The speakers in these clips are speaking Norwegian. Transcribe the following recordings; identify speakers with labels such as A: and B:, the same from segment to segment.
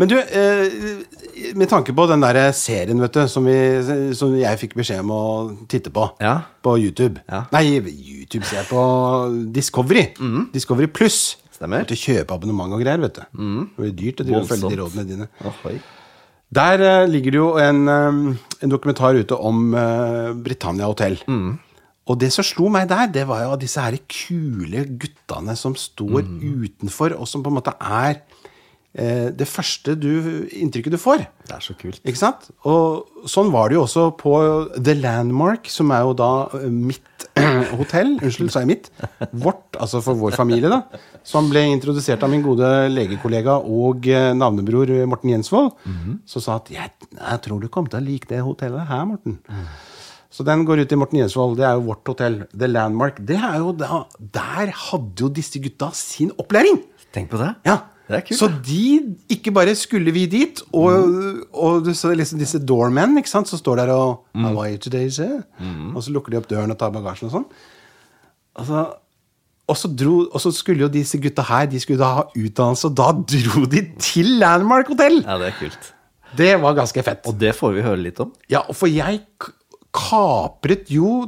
A: Men du, eh, med tanke på den der serien vet du, som, vi, som jeg fikk beskjed om å titte på
B: Ja.
A: på YouTube
B: Ja.
A: Nei, YouTube ser jeg på Discovery. Discovery Pluss.
B: Mm. Stemmer. Mm.
A: Måtte kjøpe abonnement og greier, vet du. Det blir dyrt å drive og følge de
B: Voldsomt.
A: rådene dine.
B: Ohoi.
A: Der eh, ligger det jo en, eh, en dokumentar ute om eh, Britannia Hotel. Og det som slo meg der, det var jo disse her kule guttene som står utenfor, og som på en måte er eh, det første du, inntrykket du får.
B: Det er så kult.
A: Ikke sant? Og sånn var det jo også på The Landmark, som er jo da eh, mitt eh, hotell. Unnskyld, sa jeg mitt? Vårt, altså for vår familie, da. Som ble introdusert av min gode legekollega og eh, navnebror eh, Morten Jensvold. Som sa at jeg, 'Jeg tror du kommer til å like det hotellet her, Morten'. Så den går ut til Morten Jensvold. Det er jo vårt hotell. The Landmark. Det er jo da, der hadde jo disse gutta sin opplæring!
B: Tenk på det.
A: Ja.
B: Det er kult.
A: Så de, ikke bare skulle vi dit, og, og du så liksom disse doormen ikke sant, som står der og
B: Mm.
A: How are you today, sir? Og så lukker de opp døren og tar bagasjen og sånn. Altså, og så, dro, og så skulle jo disse gutta her De skulle da ha utdannelse, og da dro de til Landmark Hotel!
B: Ja, det er kult.
A: Det var ganske fett.
B: Og det får vi høre litt om.
A: Ja, for jeg k- kapret jo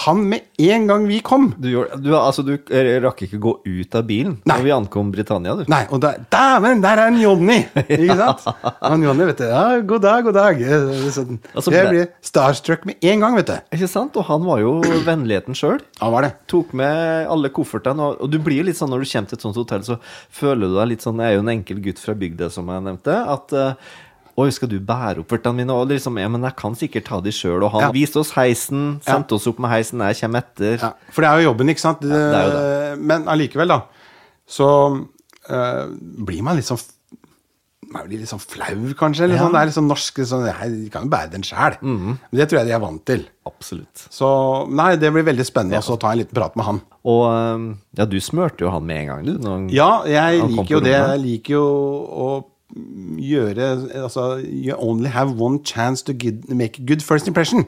A: han med en gang vi kom.
B: Du, gjorde, du, altså, du eh, rakk ikke gå ut av bilen
A: Nei.
B: når vi ankom Britannia, du.
A: Nei, og der, dæven, der er en Johnny! Ikke sant? Han Johnny, vet du. Ja, god dag, god dag. Eh, Sånn.
B: Og så ble-
A: Jeg blir starstruck med en gang, vet du.
B: Ikke sant? Og han var jo vennligheten sjøl.
A: Ja, var det.
B: Tok med alle koffertene. Og, og du blir jo litt sånn når du kommer til et sånt hotell, så føler du deg litt sånn Jeg er jo en enkel gutt fra bygda, som jeg nevnte. At eh, Oi, skal du bære opp vertene mine? Og liksom, ja, men jeg kan sikkert ta de sjøl. Og han
A: Ja.
B: viste oss heisen, sendte oss opp med heisen, jeg kommer etter.
A: Ja, for det er jo jobben, ikke sant? Eh,
B: det er jo
A: Men allikevel, da. Så eh, blir man litt sånn man blir litt sånn flau, kanskje. Eller sånn. Det er litt sånn norsk sånn, Jeg kan jo bære den sjæl.
B: Mhm.
A: Men Det tror jeg de er vant til.
B: Absolutt.
A: Så nei, det blir veldig spennende også å ta en liten prat med han.
B: Og eh, ja, du smurte jo han med en gang, du. Når, han-
A: Ja, jeg
B: Mm. Han kom
A: liker jo
B: på
A: det.
B: rommet.
A: Jeg liker jo å gjøre Altså, you only have one chance to gid- make a good first impression.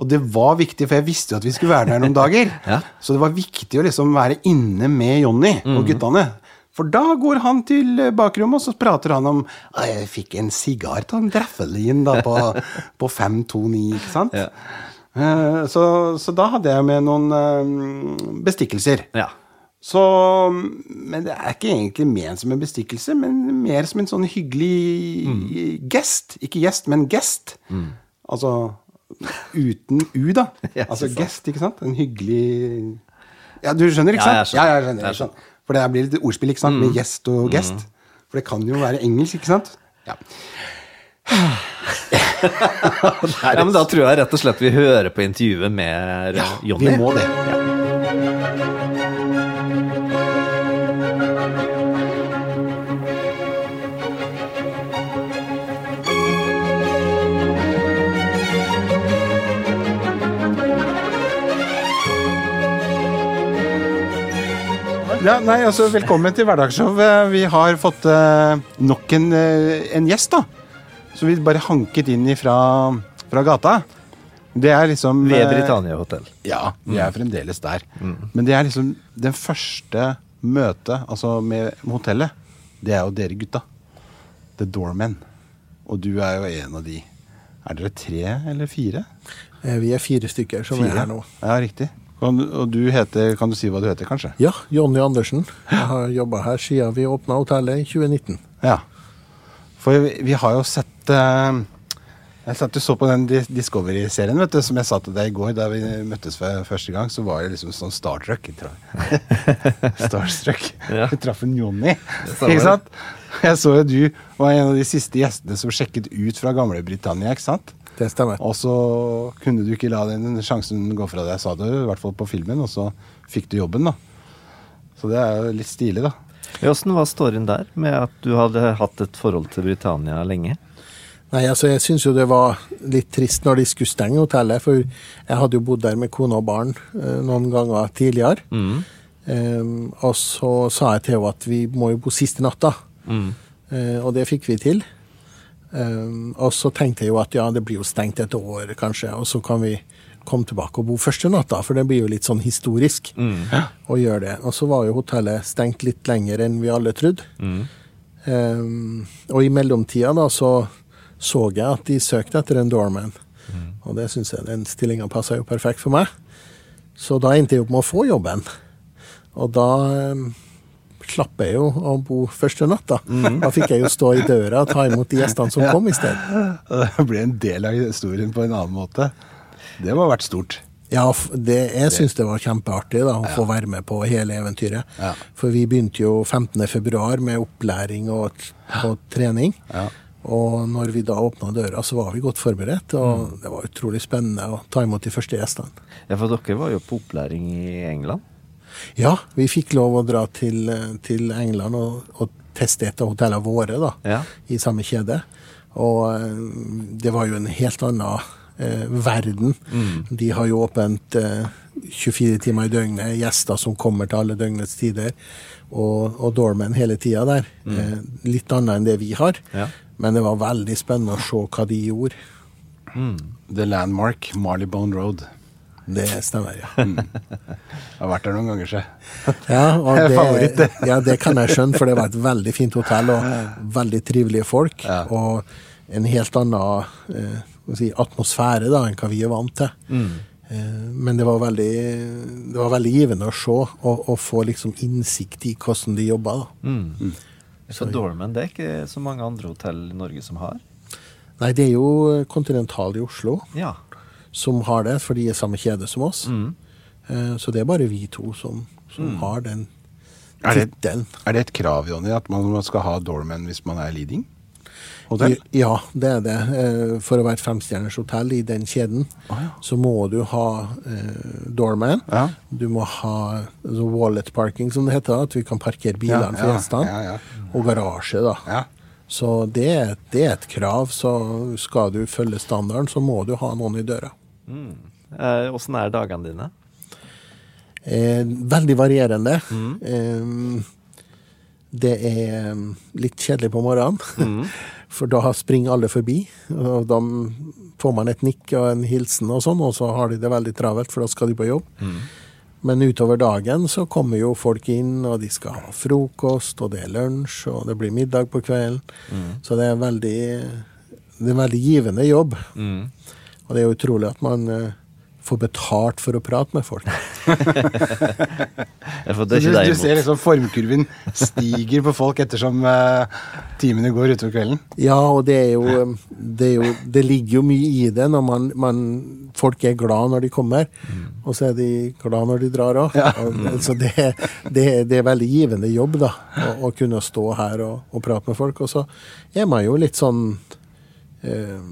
A: Og det var viktig, for jeg visste jo at vi skulle være der noen dager.
B: Ja.
A: Så det var viktig å liksom være inne med Jonny
B: Mm.
A: og guttene. For da går han til eh, bakrommet, og så prater han om «Ah, 'Jeg fikk en sigar av en Draffelin da på, på 529', ikke sant?
B: Ja.
A: Eh, Så, så da hadde jeg med noen eh, bestikkelser.
B: ja.
A: Så, men det er ikke egentlig ment som en bestikkelse, men mer som en sånn hyggelig
B: Mm.
A: gest. Ikke gjest, men gest. Altså uten U, da.
B: Ja,
A: altså
B: ikke sant.
A: gest, ikke sant? En hyggelig Ja, du skjønner, ikke
B: Ja,
A: sant?
B: jeg skjønner. Mm.
A: jeg skjønner, jeg skjønner. For det blir litt ordspill, ikke sant? Med gjest og gest. For det kan jo være engelsk, ikke sant? Ja.
B: Ja, men Da tror jeg rett og slett vi hører på intervjuet med ja, Jonny.
A: Vi må det. Ja, nei, altså, velkommen til Hverdagsshow. Eh, Vi har fått eh, nok en, eh, en gjest, da. Som vi bare hanket inn ifra, fra gata. Det er liksom
B: Ved
A: eh,
B: Britannia Hotel.
A: Ja, vi er fremdeles der. Men det er liksom den første møtet altså med med hotellet. Det er jo dere gutta. The Doormen. Og du er jo en av de. Er dere tre eller fire?
C: Eh, Vi er fire stykker som
A: Fire.
C: er her nå.
A: Ja, riktig. Kan, og du heter Kan du si hva du heter, kanskje?
C: Ja, Jonny Andersen. Jeg har jobba her siden vi åpna hotellet i 2019.
A: Ja. For vi, vi har jo sett eh, Jeg satt og så på den Dis- Discovery-serien vet du, som jeg sa til deg i går da vi møttes for første gang. Så var jeg liksom sånn starstruck. jeg tror. starstruck.
B: Ja.
A: Jeg traff en Johnny.
B: stemmer.
A: Ikke sant? Jeg så jo du var en av de siste gjestene som sjekket ut fra gamle Britannia. ikke sant?
C: Det stemmer.
A: Og så kunne du ikke la den sjansen gå fra deg, sa du, i hvert fall på filmen. Og så fikk du jobben, da. Så det er jo litt stilig, da.
B: Åssen var storyen der, med at du hadde hatt et forhold til Britannia lenge?
C: Nei, altså Jeg syns jo det var litt trist når de skulle stenge hotellet, for jeg hadde jo bodd der med kone og barn eh, noen ganger tidligere.
A: Mm.
C: Eh, og så sa jeg til henne at vi må jo bo siste natta, Eh, og det fikk vi til. Eh, og så tenkte jeg jo at ja, det blir jo stengt et år, kanskje, og så kan vi komme tilbake og bo første natta, for det blir jo litt sånn historisk å gjøre det. Og så var jo hotellet stengt litt lenger enn vi alle trodde. Ehm, og i mellomtida da, så så jeg at de søkte etter en doorman. Og det syns jeg den stillinga passa jo perfekt for meg. Så da endte jeg opp med å få jobben. Og da ehm, slapp jeg jo å bo første natta.
A: Mhm.
C: Da fikk jeg jo stå i døra og ta imot de gjestene som kom i stedet.
A: Det ble en del av historien på en annen måte. Det må ha vært stort.
C: Ja, f- det, jeg syns det var kjempeartig da, å få være med på hele eventyret.
A: Ja.
C: For vi begynte jo 15.2 med opplæring og, og trening.
A: Ja.
C: Og når vi da åpna døra, så var vi godt forberedt. Og
A: Mm.
C: det var utrolig spennende å ta imot de første gjestene.
B: Ja, for dere var jo på opplæring i England.
C: Ja, vi fikk lov å dra til, eh, til England og, og teste et av hotellene våre da,
B: Ja.
C: i samme kjede. Og eh, det var jo en helt annen eh, verden.
B: Mm.
C: De har jo åpent eh, 24 timer i døgnet, gjester som kommer til alle døgnets tider, og, og doorman hele tida der. Eh, litt annet enn det vi har.
B: Mm. Ja.
C: Men det var veldig spennende å se hva de gjorde.
A: The Landmark, Marleybone Road.
C: Det stemmer, ja.
A: Jeg har vært der noen ganger, så.
C: Ja, og
A: Det er
C: det,
A: favoritt, det.
C: ja, det kan jeg skjønne, for det var et veldig fint hotell og veldig trivelige folk.
A: Ja.
C: Og en helt annen eh, hva skal jeg si, atmosfære da, enn hva vi er vant til.
A: Mm.
C: Eh, men det var veldig, det var veldig givende å se og, og få liksom innsikt i hvordan de jobba.
A: Mm.
C: da.
B: Så Dorman det er ikke så mange andre hotell i Norge som har.
C: Nei, det er jo Continental i Oslo
B: Ja.
C: som har det, for de er samme kjede som oss.
A: Mm.
C: Eh, så det er bare vi to som, som har den
A: Er det-
C: tittelen.
A: Er det et krav, Jonny, at man skal ha doorman hvis man er leading? Hotell?
C: Ja, det er det. Eh, For å være et femstjerners hotell i den kjeden, så må du ha eh, doorman.
A: Ja.
C: Du må ha altså wallet parking, som det heter. da, At vi kan parkere bilene
A: Ja,
C: for
A: ja,
C: gjestene.
A: ja, ja.
C: Og garasje, da.
A: Ja.
C: Så det, er- det er et krav. Så skal du følge standarden, så må du ha noen i døra.
B: Åssen er dagene dine?
C: Eh, veldig varierende. Eh, det er mm, litt kjedelig på morgenen, for da springer alle forbi. Og da får man et nikk og en hilsen og sånn, og så har de det veldig travelt, for da skal de på jobb.
A: Mm.
C: Men utover dagen så kommer jo folk inn, og de skal ha frokost, og det er lunsj, og det blir middag på kvelden. Så det er veldig det er en veldig givende jobb.
A: Mm.
C: Og det er jo utrolig at man eh, får betalt for å prate med folk.
B: Ja, for
A: Du,
B: det er ikke deg
A: du ser
B: imot.
A: liksom formkurven stiger på folk ettersom eh, timene går utover kvelden.
C: Ja, og det er jo Det, er jo, det ligger jo mye i det når man, man Folk er glad når de kommer, og så er de glad når de drar òg. Så det, er- det, er- det er veldig givende jobb, da, å, å kunne stå her og, og prate med folk. Og så er man jo litt sånn eh,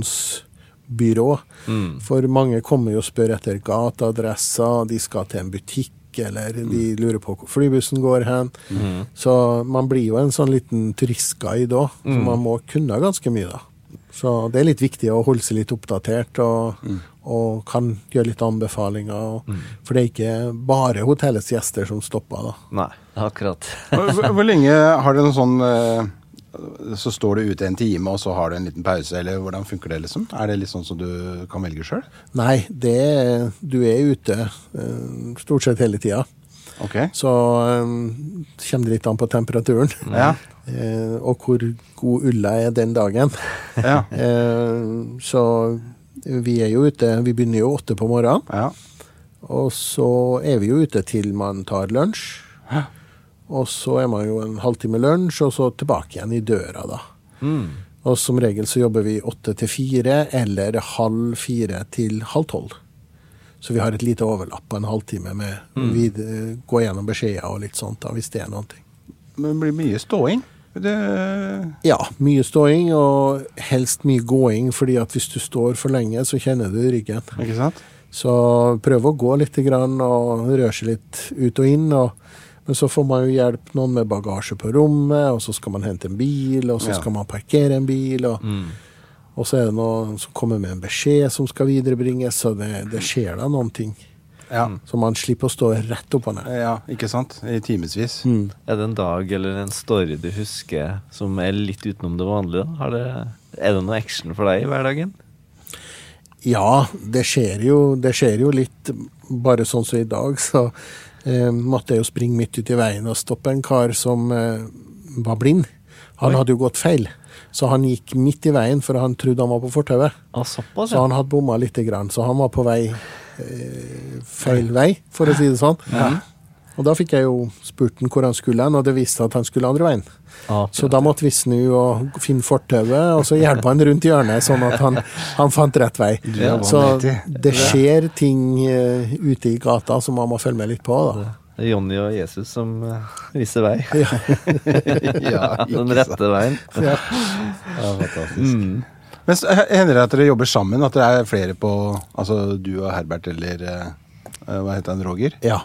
C: informasjonsbyrå. For mange kommer jo og spør etter gateadresser, de skal til en butikk, eller de lurer på hvor flybussen går hen. Så man blir jo en sånn liten turistguide òg, så man må kunne ganske mye, da. Så det er litt viktig å holde seg litt oppdatert og, og kan gjøre litt anbefalinger. Og, For det er ikke bare hotellets gjester som stopper, da.
B: Nei, akkurat.
A: Hvor, hvor, hvor lenge har du en sånn eh, Så står du ute en time, og så har du en liten pause, eller hvordan funker det, liksom? Er det litt sånn som du kan velge sjøl?
C: Nei, det er- Du er ute eh, stort sett hele tida.
A: Ok.
C: Så um, kommer det litt an på temperaturen.
A: Ja.
C: Eh, og hvor god ulla er den dagen.
A: Ja.
C: Eh, så vi er jo ute Vi begynner jo åtte på morgenen,
A: ja.
C: og så er vi jo ute til man tar lunsj. Og så er man jo en halvtime lunsj, og så tilbake igjen i døra, da.
A: Mm.
C: Og som regel så jobber vi åtte til fire, eller halv fire til halv tolv. Så vi har et lite overlapp på en halvtime med vi eh, går gjennom beskjeder og litt sånt, da, hvis det er noen ting.
A: Men det blir mye ståing. Det
C: Ja, mye ståing, og helst mye gåing, fordi at hvis du står for lenge, så kjenner du i ryggen.
A: Ikke sant?
C: Så prøv å gå litt grann, og røre seg litt ut og inn. Og, men så får man jo hjelp noen med bagasje på rommet, og så skal man hente en bil, og så
A: Ja.
C: skal man parkere en bil. Og, og så er det noen som kommer med en beskjed som skal viderebringes, så det, det skjer da noen ting.
A: Ja.
C: Så man slipper å stå rett opp og ned.
A: Mm. ja. Ikke sant? I timevis.
B: Er det en dag eller en story du husker som er litt utenom det vanlige? da? Har det, er det noe action for deg i hverdagen?
C: Ja, det skjer jo, det skjer jo litt. Bare sånn som i dag, så eh, måtte jeg jo springe midt ut i veien og stoppe en kar som eh, var blind. Han hadde jo gått feil, så han gikk midt i veien, for han trodde han var på fortauet.
B: Ah, såpass,
C: Så
B: ja.
C: han hadde bomma lite grann, så han var på vei eh, feil vei, for å si det sånn. Og da fikk jeg jo spurt han hvor han skulle hen, og det viste at han skulle andre veien.
B: Ah,
C: Så da måtte vi snu og finne fortauet, og så hjelpe han rundt hjørnet, sånn at han, han fant rett vei.
A: er
C: Så
A: vanvittig.
C: det skjer ting eh, ute i gata som man må følge med litt på, da.
B: Det er Jonny og Jesus som eh, viser vei.
A: Ja,
B: Den rette veien. Mm.
A: Men så eh, hender det at dere jobber sammen? At det er flere på Altså du og Herbert eller eh, Hva heter han? Roger?
C: Ja.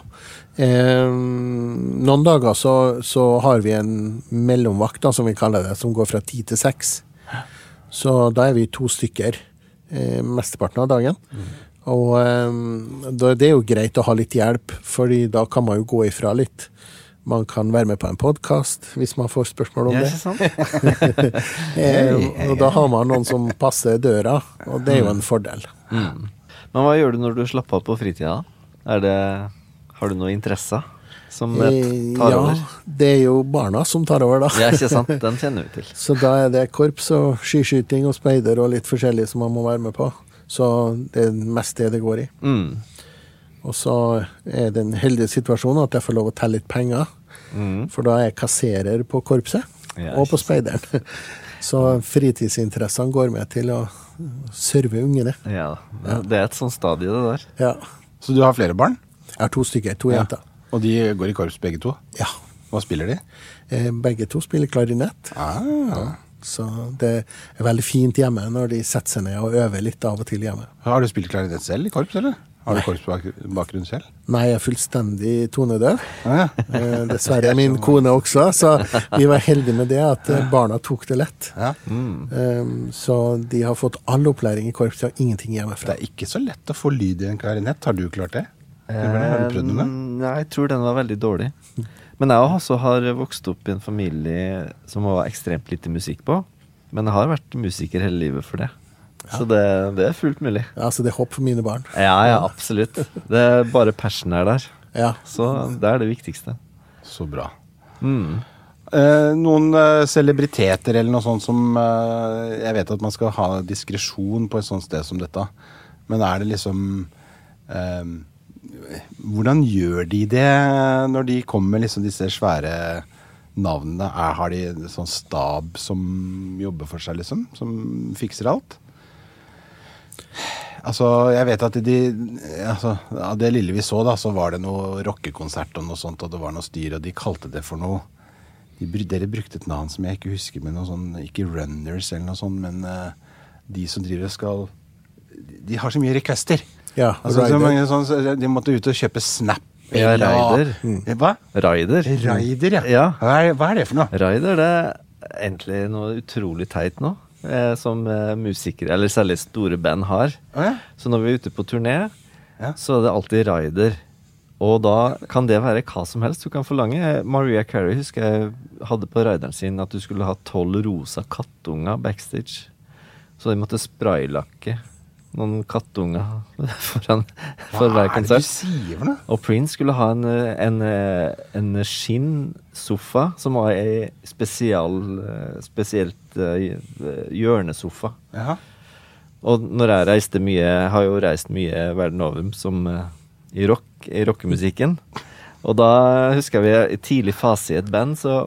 C: Eh, noen dager så, så har vi en mellomvakt, da, som vi kaller det, som går fra ti til seks. Så da er vi to stykker eh, mesteparten av dagen.
B: Mm.
C: Og eh, da, det er jo greit å ha litt hjelp, fordi da kan man jo gå ifra litt. Man kan være med på en podkast hvis man får spørsmål om
B: Ja,
C: det.
B: ikke sant?
C: Eh, og da har man noen som passer døra, og det er
B: Mm.
C: jo en fordel.
B: Men hva gjør du når du slapper av på fritida? Er det, har du noen interesser som eh,
C: Eh,
B: tar
C: ja,
B: over?
C: det er jo barna som tar over, da.
B: Ja, ikke sant? Den kjenner vi til.
C: Så da er det korps og skiskyting og speider og litt forskjellig som man må være med på. Så det er mest det det går i.
B: Mm.
C: Og så er det en heldig situasjon at jeg får lov å telle litt penger.
B: Mm.
C: For da er jeg kasserer på korpset
B: Ja,
C: og på speideren. Så fritidsinteressene går med til å serve ungene.
B: Ja, det, det er et sånt stadie, det der.
C: Ja.
A: Så du har flere barn?
C: Jeg har to stykker. To jenter.
A: Og de går i korps begge to?
C: Ja.
A: Hva spiller de?
C: Eh, Begge to spiller klarinett.
A: Ah.
C: Så det er veldig fint hjemme når de setter seg ned og øver litt av og til hjemme.
A: Har du spilt klarinett selv i korps, eller? Har du korpsbakgrunn selv?
C: Nei, jeg er fullstendig tonedøv.
A: Ah, ja.
C: Eh, Dessverre min kone også, så vi var heldige med det at eh, barna tok det lett.
A: Ja.
C: Um, Så de har fått all opplæring i korps, de har ingenting
A: Det
C: hjemmefra.
A: er ikke så lett å få lyd i en klarinett. Har du klart det? Bjørnar, har du prøvd noe?
B: Eh, Nei, jeg tror den var veldig dårlig. Men jeg også har vokst opp i en familie som var ekstremt lite musikk på. Men jeg har vært musiker hele livet for det. Så det, det er fullt mulig.
C: Altså, det er håp for mine barn.
B: Ja, ja, absolutt. Det er bare passion her der.
C: Ja.
B: Så det er det viktigste.
A: Så bra.
B: Mm.
A: Eh, noen eh, celebriteter eller noe sånt som eh, Jeg vet at man skal ha diskresjon på et sånt sted som dette, men er det liksom eh, Hvordan gjør de det når de kommer med liksom disse svære navnene? Er, har de en sånn stab som jobber for seg, liksom? Som fikser alt? Altså, jeg vet at de altså, Av det lille vi så, da, så var det noe rockekonsert og noe sånt, og det var noe styr, og de kalte det for noe de, br- Dere brukte et navn som jeg ikke husker, men noe sånn Ikke Runners eller noe sånt, men eh, de som driver og skal De har så mye requester.
C: Ja,
A: altså, så
C: Rider.
A: mange sånn, så de måtte ut og kjøpe Snap.
B: Ja,
A: eller- Eh,
B: Rider.
A: Hva?
B: Raider.
A: Raider, ja.
B: Ja.
A: Hva, er, hva er det for noe?
B: Raider, det er egentlig noe utrolig teit nå. Eh, som eh, musikere, eller særlig store band, har.
A: Å, ja.
B: Så når vi er ute på turné,
A: Ja.
B: så er det alltid Raider. Og da kan det være hva som helst du kan forlange. Eh, Maria Carey husker jeg hadde på Raideren sin at du skulle ha tolv rosa kattunger backstage. Så de måtte spraylakke noen kattunger foran, for hver
A: Hva er det du
B: konsert.
A: sier for noe?
B: Og Prince skulle ha en, eh, en, eh, en skinnsofa som var ei spesial, eh, spesielt eh, hjørnesofa.
A: Ja.
B: Og når jeg reiste mye, jeg har jo reist mye verden over som eh, i rock, i rockemusikken. Og da husker jeg vi i tidlig fase i et band, så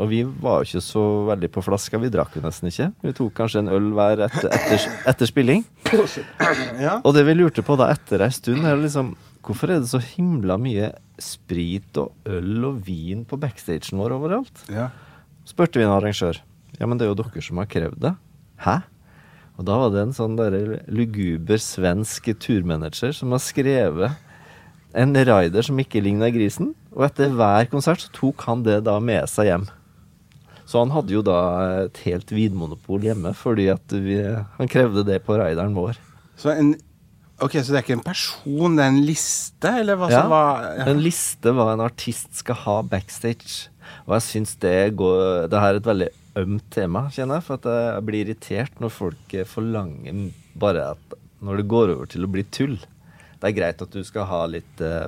B: og vi var jo ikke så veldig på flaska. Vi drakk jo nesten ikke. Vi tok kanskje en øl hver etter, etter, etter spilling.
A: Ja.
B: Og det vi lurte på da etter ei stund, er liksom Hvorfor er det så himla mye sprit og øl og vin på backstagen vår overalt?
A: ja.
B: Spurte vi en arrangør. Ja, men det er jo dere som har krevd det. Hæ? Og da var det en sånn derre luguber svensk turmanager som har skrevet en rider som ikke ligna grisen, og etter hver konsert så tok han det da med seg hjem. Så han hadde jo da et helt vinmonopol hjemme, fordi at vi, han krevde det på rideren vår.
A: Så en Ok, så det er ikke en person, det er en liste, eller hva
B: Ja.
A: som var ja.
B: En liste hva en artist skal ha backstage. Og jeg syns det går Det her er et veldig ømt tema, kjenner jeg. For at jeg blir irritert når folk eh, forlanger m- bare at Når det går over til å bli tull. Det er greit at du skal ha litt eh,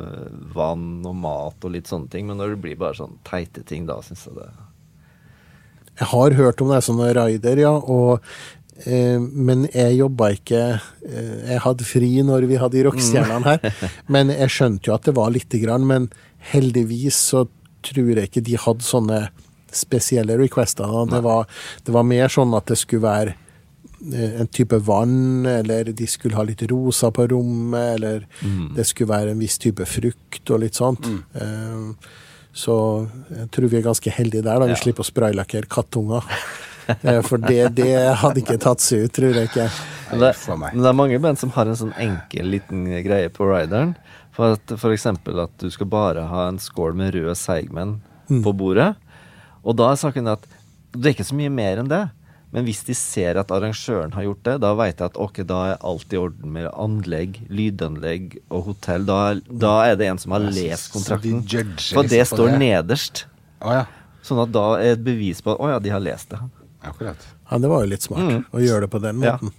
B: vann og mat og litt sånne ting, men når det blir bare sånn teite ting, da syns jeg det
C: Jeg har hørt om det er sånne raider, ja. Og, eh, men jeg jobba ikke eh, Jeg hadde fri når vi hadde rockestjernene her. Men jeg skjønte jo at det var lite grann. Men heldigvis så tror jeg ikke de hadde sånne spesielle requester. da. Det var, det var mer sånn at det skulle være eh, en type vann, eller de skulle ha litt rosa på rommet, eller det skulle være en viss type frukt og litt sånt. Eh, Så jeg tror vi er ganske heldige der, da. Vi
B: Ja.
C: slipper å spraylakkere kattunger. Eh, For det, det hadde ikke tatt seg ut, tror jeg ikke.
B: Men det,
A: for meg.
B: men det er mange band som har en sånn enkel liten greie på rideren. For, at, for eksempel at du skal bare ha en skål med rød seigmenn på bordet. Og da er saken at det er ikke så mye mer enn det. Men hvis de ser at arrangøren har gjort det, da veit jeg at ok, da er alt i orden med anlegg, lydanlegg og hotell. Da, er- da er det en som har lest
A: så de
B: kontrakten.
A: judger
B: For det
A: liksom på
B: står
A: det.
B: nederst.
A: Å ja.
B: Sånn at da er et bevis på at å ja, de har lest det.
A: Akkurat.
C: Ja, det var jo litt smart å gjøre det på den
B: Ja.
C: måten.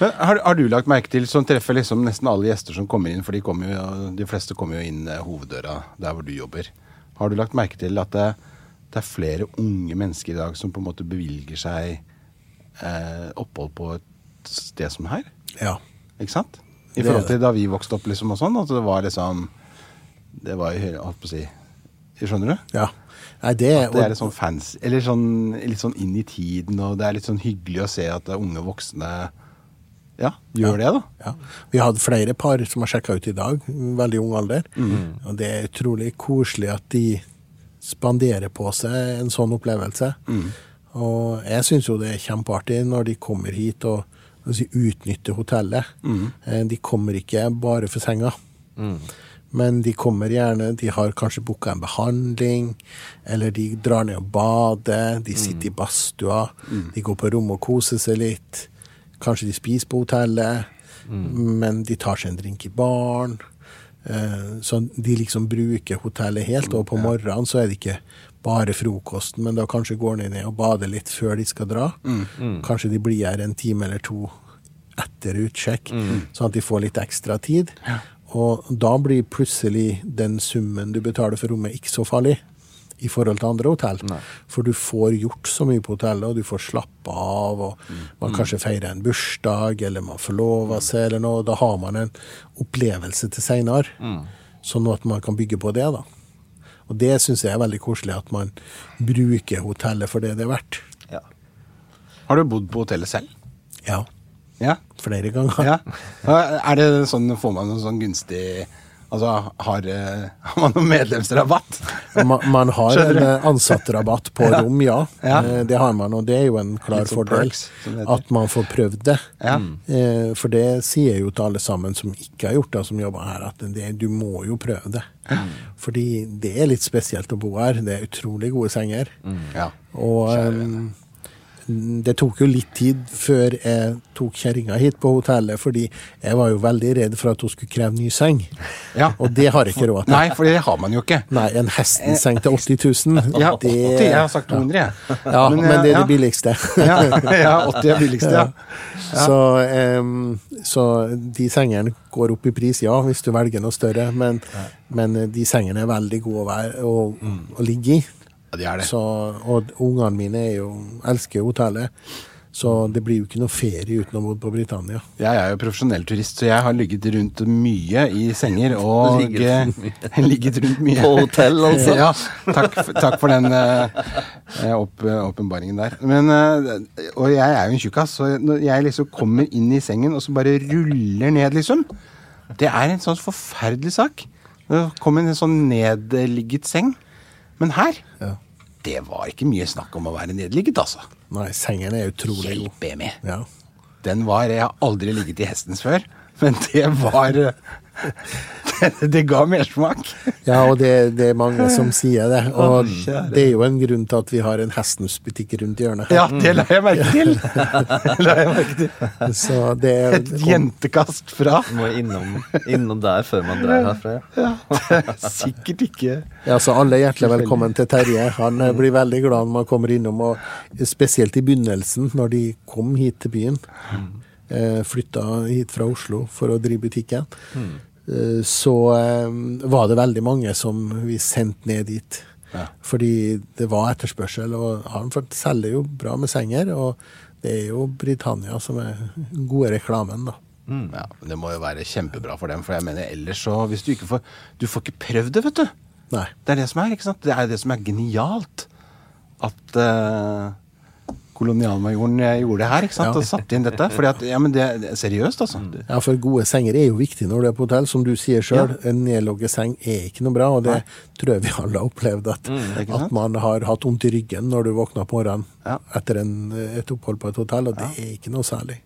A: Men har, har du lagt merke til, som treffer liksom nesten alle gjester som kommer inn, for de, kommer jo, de fleste kommer jo inn eh, hoveddøra der hvor du jobber. Har du lagt merke til at det, det er flere unge mennesker i dag som på en måte bevilger seg eh, opphold på et sted som her?
C: Ja.
A: Ikke sant? I
C: Det er
A: forhold
C: det.
A: til da vi vokste opp liksom og sånn, at det var liksom Det var jo hele- holdt på å si Skjønner du?
C: ja. Nei, det,
A: Det er litt sånn fans, eller sånn, litt sånn inn i tiden, og det er litt sånn hyggelig å se at det er unge voksne ja, gjør det, da.
C: Ja. Vi hadde flere par som har sjekka ut i dag, veldig ung alder. Og det er utrolig koselig at de spanderer på seg en sånn opplevelse. Og jeg syns jo det er kjempeartig når de kommer hit og hva skal jeg si, utnytter hotellet. Eh, De kommer ikke bare for senga. Men de kommer gjerne, de har kanskje booka en behandling, eller de drar ned og bader, de sitter i badstua, de går på rommet og koser seg litt. Kanskje de spiser på hotellet, men de tar seg en drink i baren. Eh, Så de liksom bruker hotellet helt, og på morgenen så er det ikke bare frokosten, men da kanskje går de ned og bader litt før de skal dra. Kanskje de blir her en time eller to etter utsjekk, sånn at de får litt ekstra tid. Og da blir plutselig den summen du betaler for rommet, ikke så farlig i forhold til andre hotell. For du får gjort så mye på hotellet, og du får slappe av, og man kanskje feirer en bursdag, eller man forlover seg, eller noe. Da har man en opplevelse til seinere, sånn at man kan bygge på det, da. Og det syns jeg er veldig koselig, at man bruker hotellet for det det er verdt.
B: Ja.
A: Har du bodd på hotellet selv?
C: Ja,
A: Ja.
C: flere ganger.
A: ja. Er det sånn, Får man noe sånn gunstig Altså, har, eh, har man noen medlemsrabatt?
C: Man, man har
A: Skjønner
C: en
A: du?
C: eh, ansattrabatt på rom, ja.
A: Ja.
C: Eh, Det har man, og det er jo en klar
A: Litt sånn
C: fordel.
A: perks, som det heter.
C: At man får prøvd det.
A: Ja.
C: Eh, For det sier jeg jo til alle sammen som ikke har gjort det, og som jobber her, at det, du må jo prøve det. Fordi det er litt spesielt å bo her. Det er utrolig gode senger.
A: Ja.
C: Og ehm, det tok jo litt tid før jeg tok kjerringa hit på hotellet, fordi jeg var jo veldig redd for at hun skulle kreve ny seng.
A: Ja.
C: Og det har jeg ikke råd til.
A: Nei, for det har man jo ikke.
C: Nei, en hestenseng til 80 000.
A: Ja, 80, jeg har sagt 200, jeg. eh,
C: Ja, men, det er
A: ja.
C: det billigste.
A: Ja, ja, 80 er billigste, ja.
C: Så, em, så de sengene går opp i pris, ja, hvis du velger noe større, men, men eh, de sengene er veldig gode å, være, å, å ligge i.
A: Mm. ja det er det.
C: Så, og ungene mine er jo, elsker jo hotellet, så det blir jo ikke noe ferie uten å bo på Britannia.
A: Jeg er jo profesjonell turist, så jeg har ligget rundt mye i senger og
B: Ligget
A: eh, ligget rundt mye.
B: På hotell, altså.
A: Ja, takk, f- takk for den eh, eh, opp- eh, åpenbaringen der. Men, eh, og jeg er jo en tjukkas, så når jeg liksom kommer inn i sengen og så bare ruller ned, liksom Det er en sånn forferdelig sak. Det kom en sånn nedligget seng. Men her Det var ikke mye snakk om å være nedligget, altså.
C: Nei, sengen er utrolig god.
A: Hjelpe meg.
C: Ja.
A: Den var Jeg har aldri ligget i hestens før, men det var Det, det ga mersmak.
C: Ja, og det, det er mange som sier det. Og det er jo en grunn til at vi har en hestens butikk rundt hjørnet.
A: Ja, det la jeg merke til! Det la jeg merke til.
C: Så det er
A: Et jentekast fra
B: Må innom, innom der før man drar herfra. ja.
A: ja, det er Sikkert ikke
C: Ja, så alle er hjertelig velkommen til Terje. Han eh, blir veldig glad når man kommer innom, og spesielt i begynnelsen, når de kom hit til byen. eh, Flytta hit fra Oslo for å drive butikken. eh, Så eh, var det veldig mange som vi sendte ned dit. Fordi det var etterspørsel, og Arnford selger jo bra med senger. Og det er jo Britannia som er den gode reklamen, da.
A: Ja, men det må jo være kjempebra for dem, for jeg mener ellers så Hvis du ikke får Du får ikke prøvd det, vet du.
C: Nei.
A: Det er det som er, ikke sant? Det er det som er genialt. At eh, kolonialmajoren eh, gjorde det her, ikke sant?
C: Ja. Mm.
A: Og satte inn dette. Fordi at, ja, men det, det er seriøst, altså.
C: Ja, for gode senger er jo viktig når du er på hotell. Som du sier sjøl, en nedlogget seng er ikke noe bra, og det tror jeg vi alle har opplevd. At,
A: ikke sant?
C: at man har hatt vondt i ryggen når du våkner på morgenen
A: Ja.
C: etter en, et opphold på et hotell, og det er ikke noe særlig.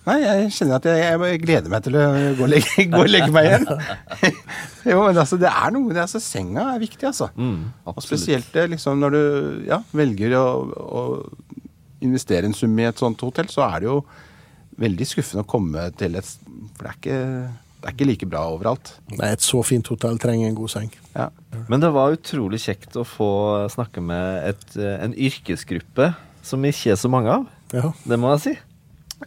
A: Nei, jeg kjenner at jeg, jeg gleder meg til å gå og legge, gå og legge meg igjen. jo, men altså, det er noe det, er- altså, Senga er viktig, altså.
B: Mm,
A: og spesielt det, liksom, når du ja, velger å, å investere en sum i et sånt hotell, så er det jo veldig skuffende å komme til et For det er ikke, det er ikke like bra overalt.
C: Nei, et så fint hotell trenger en god seng.
A: Ja.
B: Men det var utrolig kjekt å få snakke med et, eh, en yrkesgruppe som ikke er så mange av.
C: Ja.
B: Det må jeg si.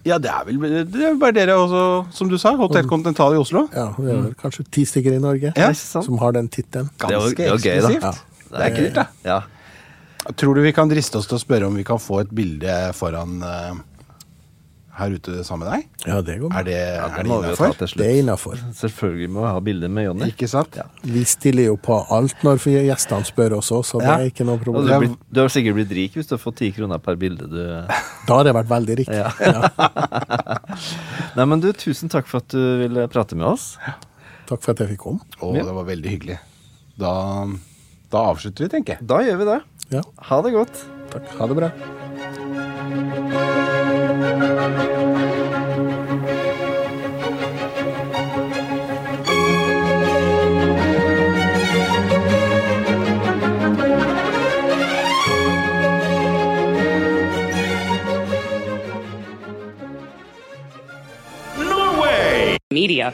A: Ja, det er vel det er bare dere også, som du sa. Hotell
B: Mm.
A: Continental i Oslo.
C: ja det er vel kanskje ti stykker i Norge
A: Ja.
B: Er det ikke sant?
C: som har den tittelen.
B: Det er jo-
A: Ganske
B: det er jo gøy, da.
A: eksklusivt. Det er kult, da.
B: Ja.
A: Tror du vi kan driste oss til å spørre om vi kan få et bilde foran eh, her ute sammen med deg?
C: Ja, det går bra.
A: Er det,
B: ja,
A: er
B: det
A: det
B: må vi jo ta
A: innafor?
B: til
C: Det er
B: slutt.
C: innafor.
B: Selvfølgelig må vi ha bilde med Jonny.
A: Ikke sant?
B: Ja.
C: Vi stiller jo på alt når gjestene spør oss også, så det
A: Ja.
C: er ikke noe
B: Og
C: problem.
B: du, blir, du har sikkert blitt rik hvis du har fått ti kroner per bilde. Du.
C: Da har det vært veldig riktig.
B: Ja.
C: Ja.
B: Nei, men du, tusen takk for at du ville prate med oss.
C: Takk for at jeg fikk komme.
A: Å, det var veldig hyggelig. Da, da avslutter vi, tenker jeg.
B: Da gjør vi det.
C: Ja,
B: Ha det godt.
C: takk. Ha det bra.
D: media.